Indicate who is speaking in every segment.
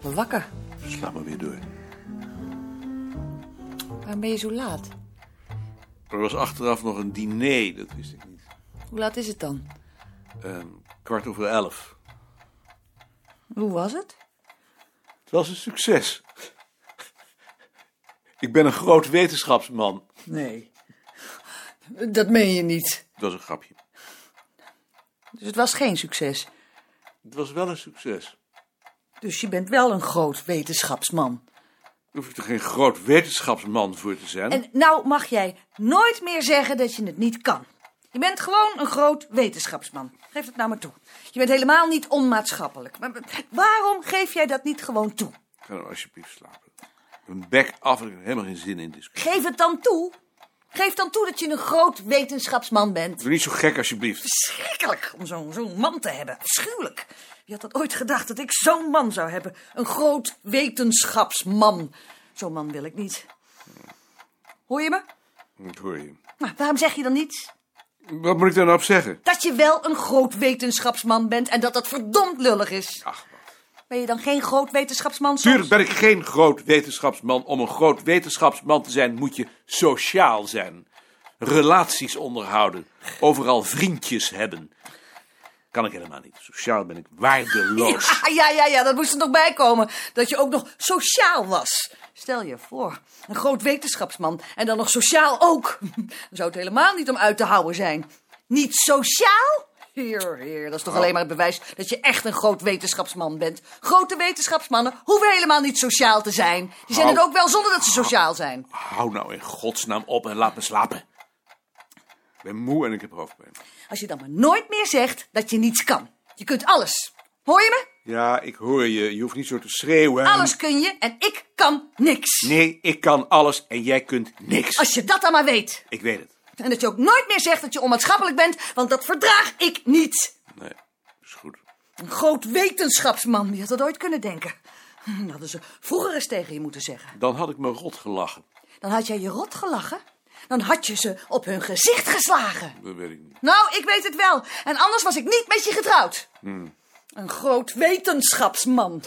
Speaker 1: wakker.
Speaker 2: Sla maar weer door.
Speaker 1: Waarom ben je zo laat?
Speaker 2: Er was achteraf nog een diner, dat wist ik niet.
Speaker 1: Hoe laat is het dan?
Speaker 2: Ehm, kwart over elf.
Speaker 1: Hoe was het?
Speaker 2: Het was een succes. Ik ben een groot wetenschapsman.
Speaker 1: Nee. Dat meen je niet.
Speaker 2: Het was een grapje.
Speaker 1: Dus het was geen succes.
Speaker 2: Het was wel een succes.
Speaker 1: Dus je bent wel een groot wetenschapsman.
Speaker 2: Daar hoef ik er geen groot wetenschapsman voor te zijn.
Speaker 1: En nou mag jij nooit meer zeggen dat je het niet kan. Je bent gewoon een groot wetenschapsman. Geef dat nou maar toe. Je bent helemaal niet onmaatschappelijk. Maar maar waarom geef jij dat niet gewoon toe?
Speaker 2: Ga nou alsjeblieft slapen. Een bek af, ik heb helemaal geen zin in discussie.
Speaker 1: Geef het dan toe. Geef dan toe dat je een groot wetenschapsman bent.
Speaker 2: Doe niet zo gek alsjeblieft.
Speaker 1: Verschrikkelijk om zo'n zo'n man te hebben. Afschuwelijk. Wie had dat ooit gedacht dat ik zo'n man zou hebben? Een groot wetenschapsman. Zo'n man wil ik niet. Hoor je me?
Speaker 2: Dat hoor je.
Speaker 1: Nou, waarom zeg je dan niets?
Speaker 2: Wat moet ik daar nou op zeggen?
Speaker 1: Dat je wel een groot wetenschapsman bent en dat dat verdomd lullig is.
Speaker 2: Ach,
Speaker 1: Ben je dan geen groot wetenschapsman? soms?
Speaker 2: Tuurlijk ben ik geen groot wetenschapsman. Om een groot wetenschapsman te zijn moet je sociaal zijn. Relaties onderhouden. Overal vriendjes hebben. Kan ik helemaal niet. Sociaal ben ik waardeloos.
Speaker 1: Ah, ja, ja, ja, dat moest er nog bij komen. Dat je ook nog sociaal was. Stel je voor, een groot wetenschapsman en dan nog sociaal ook. Dan zou het helemaal niet om uit te houden zijn. Niet sociaal? Heer, heer, dat is toch alleen maar het bewijs dat je echt een groot wetenschapsman bent. Grote wetenschapsmannen hoeven helemaal niet sociaal te zijn. Die zijn het
Speaker 2: Hou.
Speaker 1: ook wel zonder dat ze sociaal zijn.
Speaker 2: Hou nou in godsnaam op en laat me slapen. Ik ben moe en ik heb hoofdpijn.
Speaker 1: Als je dan maar nooit meer zegt dat je niets kan. Je kunt alles. Hoor je me?
Speaker 2: Ja, ik hoor je. Je hoeft niet zo te schreeuwen.
Speaker 1: Alles kun je en ik kan niks.
Speaker 2: Nee, ik kan alles en jij kunt niks.
Speaker 1: Als je dat dan maar weet.
Speaker 2: Ik weet het.
Speaker 1: En dat je ook nooit meer zegt dat je onmaatschappelijk bent, want dat verdraag ik niet.
Speaker 2: Nee, is goed.
Speaker 1: Een groot wetenschapsman, wie had dat ooit kunnen denken? Hm, Dat hadden ze vroeger eens tegen je moeten zeggen.
Speaker 2: Dan had ik me rot gelachen.
Speaker 1: Dan had jij je rot gelachen. Dan had je ze op hun gezicht geslagen.
Speaker 2: Dat weet ik niet.
Speaker 1: Nou, ik weet het wel. En anders was ik niet met je getrouwd. Een groot wetenschapsman.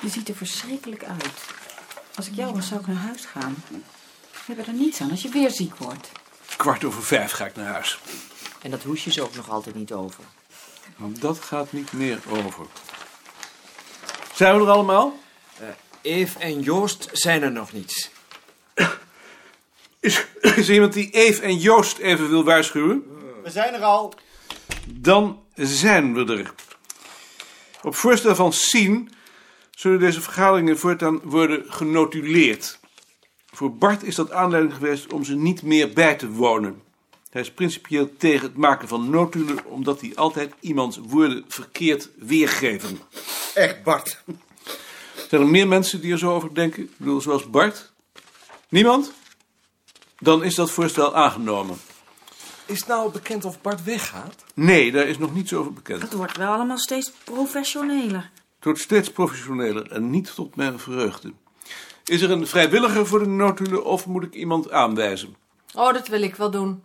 Speaker 3: Je ziet er verschrikkelijk uit. Als ik jou was, zou ik naar huis gaan. We hebben er niets aan als je weer ziek wordt.
Speaker 2: Kwart over vijf ga ik naar huis.
Speaker 4: En dat hoesje is ook nog altijd niet over.
Speaker 2: Want dat gaat niet meer over. Zijn we er allemaal?
Speaker 5: Eve en Joost zijn er nog niet.
Speaker 2: Is, is er iemand die Eve en Joost even wil waarschuwen?
Speaker 6: We zijn er al.
Speaker 2: Dan zijn we er. Op voorstel van Sien zullen deze vergaderingen voortaan worden genotuleerd. Voor Bart is dat aanleiding geweest om ze niet meer bij te wonen. Hij is principieel tegen het maken van notulen, omdat die altijd iemands woorden verkeerd weergeven.
Speaker 6: Echt, Bart.
Speaker 2: Zijn er meer mensen die er zo over denken? Ik bedoel, zoals Bart? Niemand? Dan is dat voorstel aangenomen.
Speaker 5: Is nou bekend of Bart weggaat?
Speaker 2: Nee, daar is nog niets over bekend.
Speaker 3: Het wordt wel allemaal steeds professioneler.
Speaker 2: Het wordt steeds professioneler en niet tot mijn vreugde. Is er een vrijwilliger voor de notulen of moet ik iemand aanwijzen?
Speaker 4: Oh, dat wil ik wel doen.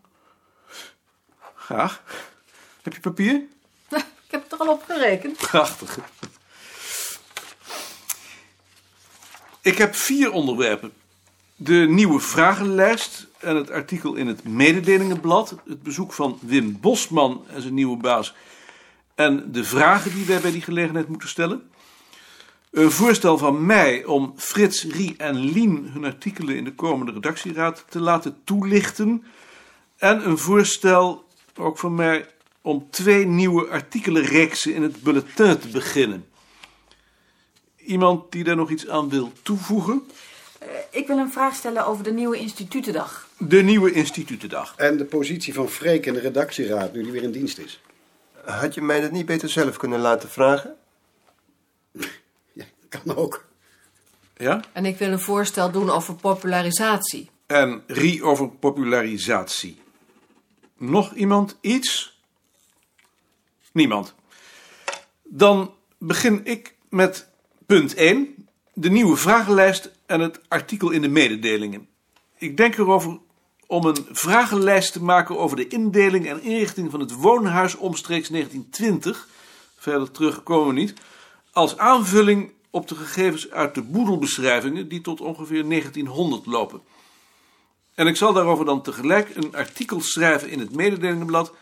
Speaker 2: Graag. Heb je papier?
Speaker 4: Ik heb het er al op gerekend.
Speaker 2: Prachtig. Ik heb vier onderwerpen. De nieuwe vragenlijst en het artikel in het mededelingenblad. Het bezoek van Wim Bosman en zijn nieuwe baas. En de vragen die wij bij die gelegenheid moeten stellen. Een voorstel van mij om Frits, Rie en Lien hun artikelen in de komende redactieraad te laten toelichten. En een voorstel, ook van mij, om twee nieuwe artikelenreeksen in het bulletin te beginnen. Iemand die daar nog iets aan wil toevoegen?
Speaker 3: Ik wil een vraag stellen over de nieuwe institutendag.
Speaker 2: De nieuwe institutendag.
Speaker 7: En de positie van Freek in de redactieraad, nu die weer in dienst is.
Speaker 8: Had je mij dat niet beter zelf kunnen laten vragen?
Speaker 7: Ja, kan ook.
Speaker 2: Ja?
Speaker 4: En ik wil een voorstel doen over popularisatie.
Speaker 2: En Rie over popularisatie. Nog iemand iets? Niemand. Dan begin ik met punt 1. De nieuwe vragenlijst en het artikel in de mededelingen. Ik denk erover om een vragenlijst te maken over de indeling en inrichting van het woonhuis omstreeks 1920. Verder terug komen we niet. Als aanvulling op de gegevens uit de boedelbeschrijvingen die tot ongeveer 1900 lopen. En ik zal daarover dan tegelijk een artikel schrijven in het mededelingenblad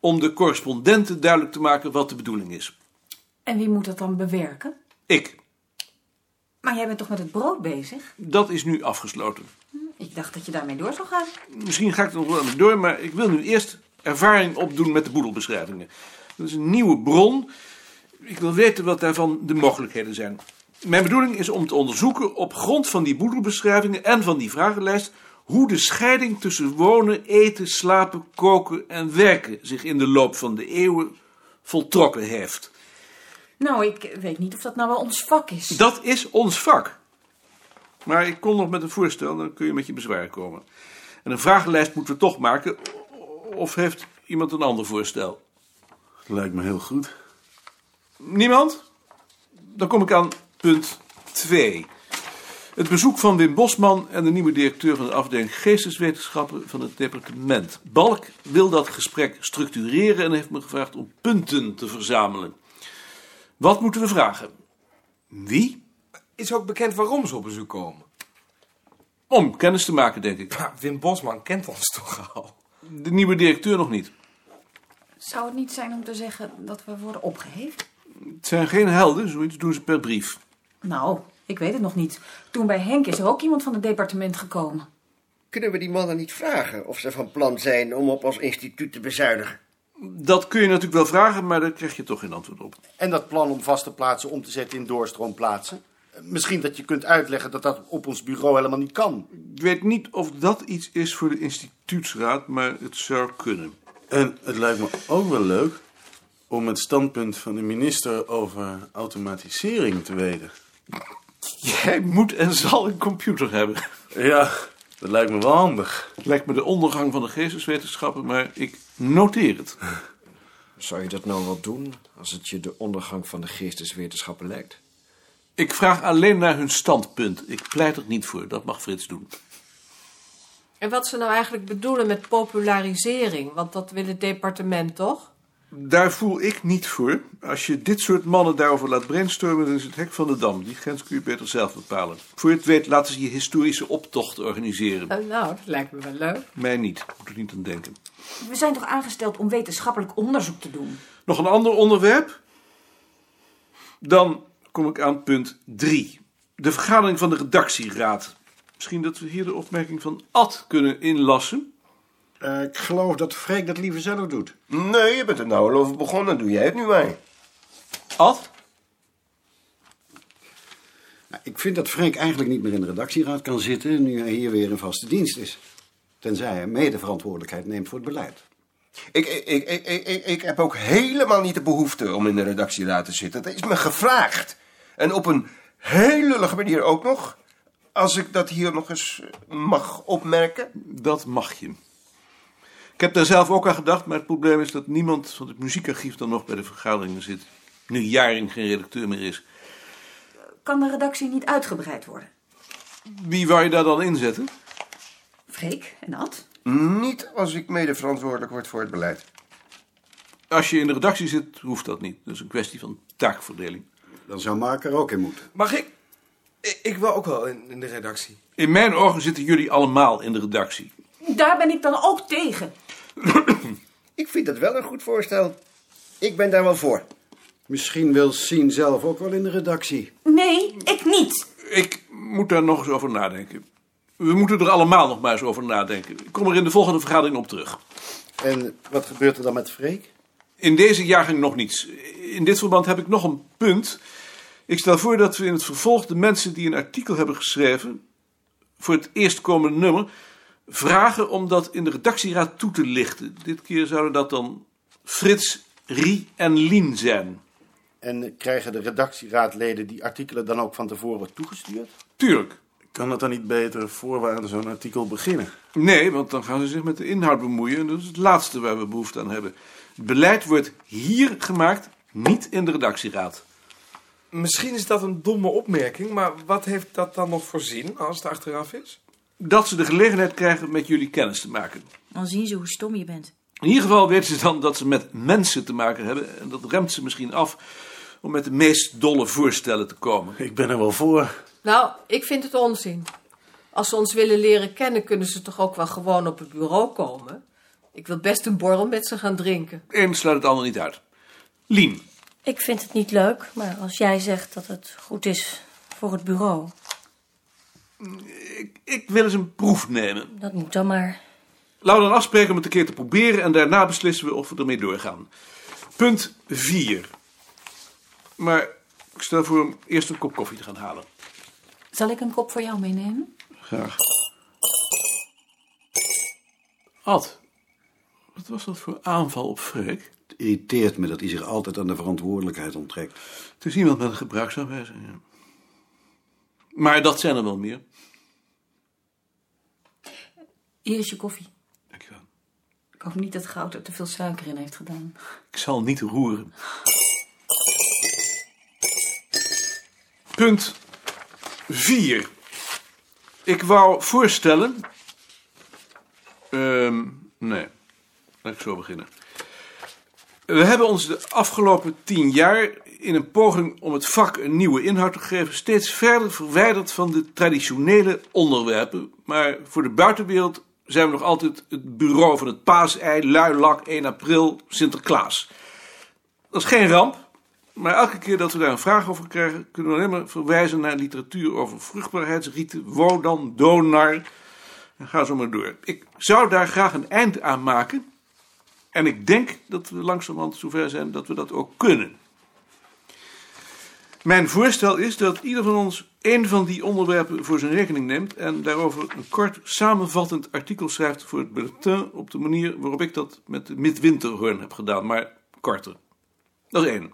Speaker 2: om de correspondenten duidelijk te maken wat de bedoeling is.
Speaker 3: En wie moet dat dan bewerken?
Speaker 2: Ik,
Speaker 3: Maar jij bent toch met het brood bezig?
Speaker 2: dat is nu afgesloten.
Speaker 3: Ik dacht dat je daarmee door zou gaan.
Speaker 2: Misschien ga ik er nog wel aan door, maar ik wil nu eerst ervaring opdoen met de boedelbeschrijvingen. Dat is een nieuwe bron. Ik wil weten wat daarvan de mogelijkheden zijn. Mijn bedoeling is om te onderzoeken op grond van die boedelbeschrijvingen en van die vragenlijst hoe de scheiding tussen wonen, eten, slapen, koken en werken zich in de loop van de eeuwen voltrokken heeft.
Speaker 3: Nou, ik weet niet of dat nou wel ons vak is.
Speaker 2: Dat is ons vak. Maar ik kom nog met een voorstel, dan kun je met je bezwaar komen. En een vragenlijst moeten we toch maken. Of heeft iemand een ander voorstel?
Speaker 9: Lijkt me heel goed.
Speaker 2: Niemand? Dan kom ik aan punt 2. Het bezoek van Wim Bosman en de nieuwe directeur van de afdeling Geesteswetenschappen van het departement. Balk wil dat gesprek structureren en heeft me gevraagd om punten te verzamelen. Wat moeten we vragen? Wie?
Speaker 5: Is ook bekend waarom ze op bezoek komen.
Speaker 2: Om kennis te maken, denk ik.
Speaker 5: Maar Wim Bosman kent ons toch al?
Speaker 2: De nieuwe directeur nog niet.
Speaker 3: Zou het niet zijn om te zeggen dat we worden opgeheven?
Speaker 2: Het zijn geen helden, zoiets doen ze per brief.
Speaker 3: Nou, ik weet het nog niet. Toen bij Henk is er ook iemand van het departement gekomen.
Speaker 6: Kunnen we die mannen niet vragen of ze van plan zijn om op ons instituut te bezuinigen?
Speaker 2: Dat kun je natuurlijk wel vragen, maar daar krijg je toch geen antwoord op.
Speaker 6: En dat plan om vaste plaatsen om te zetten in doorstroomplaatsen? Misschien dat je kunt uitleggen dat dat op ons bureau helemaal niet kan.
Speaker 2: Ik weet niet of dat iets is voor de instituutsraad, maar het zou kunnen.
Speaker 9: En het lijkt me ook wel leuk om het standpunt van de minister over automatisering te weten.
Speaker 2: Jij moet en zal een computer hebben.
Speaker 9: Ja, dat lijkt me wel handig.
Speaker 2: Het lijkt me de ondergang van de geesteswetenschappen, maar ik noteer het.
Speaker 5: Zou je dat nou wel doen als het je de ondergang van de geesteswetenschappen lijkt?
Speaker 2: Ik vraag alleen naar hun standpunt. Ik pleit er niet voor, dat mag Frits doen.
Speaker 4: En wat ze nou eigenlijk bedoelen met popularisering, want dat wil het departement toch?
Speaker 2: Daar voel ik niet voor. Als je dit soort mannen daarover laat brainstormen, dan is het hek van de dam. Die grens kun je beter zelf bepalen. Voor je het weet laten ze je historische optocht organiseren.
Speaker 4: Eh, nou, dat lijkt me wel leuk.
Speaker 2: Mij niet, moet er niet aan denken.
Speaker 3: We zijn toch aangesteld om wetenschappelijk onderzoek te doen?
Speaker 2: Nog een ander onderwerp? Dan kom ik aan punt 3. De vergadering van de redactieraad. Misschien dat we hier de opmerking van Ad kunnen inlassen.
Speaker 7: Eh, ik geloof dat Freek dat liever zelf doet.
Speaker 8: Nee, je bent er nou al over begonnen. Doe jij het nu maar.
Speaker 2: Ad?
Speaker 7: Nou, ik vind dat Freek eigenlijk niet meer in de redactieraad kan zitten... nu hij hier weer in vaste dienst is. Tenzij hij medeverantwoordelijkheid neemt voor het beleid.
Speaker 8: Ik, ik, ik, ik, ik- ik, ik heb ook helemaal niet de behoefte om in de redactieraad te zitten. Dat is me gevraagd. En op een heel lullige manier ook nog. Als ik dat hier nog eens eh, mag opmerken.
Speaker 2: Dat mag je. Ik heb daar zelf ook aan gedacht, maar het probleem is dat niemand van het muziekarchief dan nog bij de vergaderingen zit. Nu Jaring geen redacteur meer is.
Speaker 3: Kan de redactie niet uitgebreid worden?
Speaker 2: Wie wou je daar dan inzetten?
Speaker 3: Freek en Ad?
Speaker 8: Niet als ik mede verantwoordelijk word voor het beleid.
Speaker 2: Als je in de redactie zit, hoeft dat niet. Dat is een kwestie van taakverdeling.
Speaker 7: Dan zou Mark er ook in moeten.
Speaker 5: Mag ik? Ik, ik wil ook wel in, in de redactie.
Speaker 2: In mijn ogen zitten jullie allemaal in de redactie.
Speaker 3: Daar ben ik dan ook tegen.
Speaker 6: Ik vind dat wel een goed voorstel. Ik ben daar wel voor.
Speaker 7: Misschien wil Sien zelf ook wel in de redactie.
Speaker 3: Nee, ik niet.
Speaker 2: Ik moet daar nog eens over nadenken. We moeten er allemaal nog maar eens over nadenken. Ik kom er in de volgende vergadering op terug.
Speaker 7: En wat gebeurt er dan met Freek?
Speaker 2: In deze jaargang nog niets. In dit verband heb ik nog een punt. Ik stel voor dat we in het vervolg de mensen die een artikel hebben geschreven... voor het eerstkomende nummer... vragen om dat in de redactieraad toe te lichten. Dit keer zouden dat dan Frits, Rie en Lien zijn.
Speaker 6: En krijgen de redactieraadleden die artikelen dan ook van tevoren toegestuurd?
Speaker 2: Tuurlijk.
Speaker 9: Kan dat dan niet beter voor we aan zo'n artikel beginnen?
Speaker 2: Nee, want dan gaan ze zich met de inhoud bemoeien. En dat is het laatste waar we behoefte aan hebben. Het beleid wordt hier gemaakt, niet in de redactieraad.
Speaker 5: Misschien is dat een domme opmerking, maar wat heeft dat dan nog voor zin als het achteraf is?
Speaker 2: dat ze de gelegenheid krijgen met jullie kennis te maken.
Speaker 10: Dan zien ze hoe stom je bent.
Speaker 2: In ieder geval weten ze dan dat ze met mensen te maken hebben. En dat remt ze misschien af om met de meest dolle voorstellen te komen.
Speaker 9: Ik ben er wel voor.
Speaker 4: Nou, ik vind het onzin. Als ze ons willen leren kennen, kunnen ze toch ook wel gewoon op het bureau komen? Ik wil best een borrel met ze gaan drinken.
Speaker 2: Het een sluit het ander niet uit. Lien,
Speaker 10: Ik vind het niet leuk, maar als jij zegt dat het goed is voor het bureau,
Speaker 2: ik, ik wil eens een proef nemen.
Speaker 10: dat moet dan maar.
Speaker 2: Laten we dan afspreken om het een keer te proberen en daarna beslissen we of we ermee doorgaan. Punt 4. Maar ik stel voor om eerst een kop koffie te gaan halen.
Speaker 3: Zal ik een kop voor jou meenemen?
Speaker 2: Graag. Ad, wat was dat voor aanval op Freek?
Speaker 7: Het irriteert me dat hij zich altijd aan de verantwoordelijkheid onttrekt.
Speaker 2: Het is iemand met een gebruiksaanwijzing. ja. Maar dat zijn er wel meer.
Speaker 3: Hier is je koffie.
Speaker 2: Dankjewel.
Speaker 3: Ik hoop niet dat goud er te veel suiker in heeft gedaan.
Speaker 2: Ik zal niet roeren. Punt 4. Ik wou voorstellen. Ehm, nee, laat ik zo beginnen. We hebben ons de afgelopen tien jaar in een poging om het vak een nieuwe inhoud te geven steeds verder verwijderd van de traditionele onderwerpen. Maar voor de buitenwereld zijn we nog altijd het bureau van het paasei, luilak, 1 april, Sinterklaas. Dat is geen ramp, maar elke keer dat we daar een vraag over krijgen, kunnen we alleen maar verwijzen naar literatuur over vruchtbaarheidsrieten, Wodan, Donar. En ga zo maar door. Ik zou daar graag een eind aan maken. En ik denk dat we langzamerhand zover zijn dat we dat ook kunnen. Mijn voorstel is dat ieder van ons één van die onderwerpen voor zijn rekening neemt en daarover een kort samenvattend artikel schrijft voor het bulletin op de manier waarop ik dat met de midwinterhoorn heb gedaan, maar korter. Dat is één.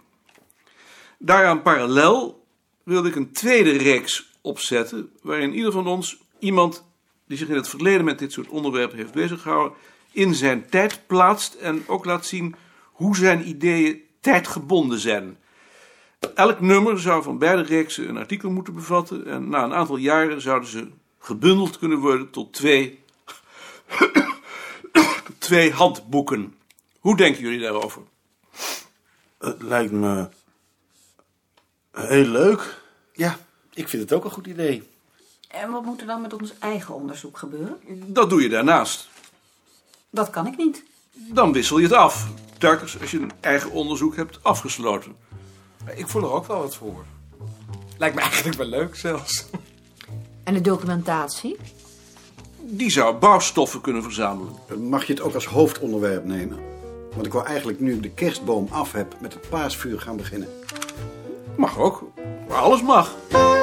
Speaker 2: Daaraan parallel wilde ik een tweede reeks opzetten, waarin ieder van ons iemand die zich in het verleden met dit soort onderwerpen heeft beziggehouden, in zijn tijd plaatst en ook laat zien hoe zijn ideeën tijdgebonden zijn. Elk nummer zou van beide reeksen een artikel moeten bevatten en na een aantal jaren zouden ze gebundeld kunnen worden tot twee, twee handboeken. Hoe denken jullie daarover?
Speaker 9: Het lijkt me heel leuk.
Speaker 6: Ja, ik vind het ook een goed idee.
Speaker 3: En wat moet er dan met ons eigen onderzoek gebeuren?
Speaker 2: Dat doe je daarnaast.
Speaker 3: Dat kan ik niet.
Speaker 2: Dan wissel je het af. Telkens als je een eigen onderzoek hebt afgesloten.
Speaker 8: Ik voel er ook wel wat voor. Lijkt me eigenlijk wel leuk zelfs.
Speaker 4: En de documentatie?
Speaker 2: Die zou bouwstoffen kunnen verzamelen.
Speaker 7: Mag je het ook als hoofdonderwerp nemen? Want ik wil eigenlijk nu de kerstboom af heb met het paasvuur gaan beginnen.
Speaker 2: Mag ook. Maar alles mag.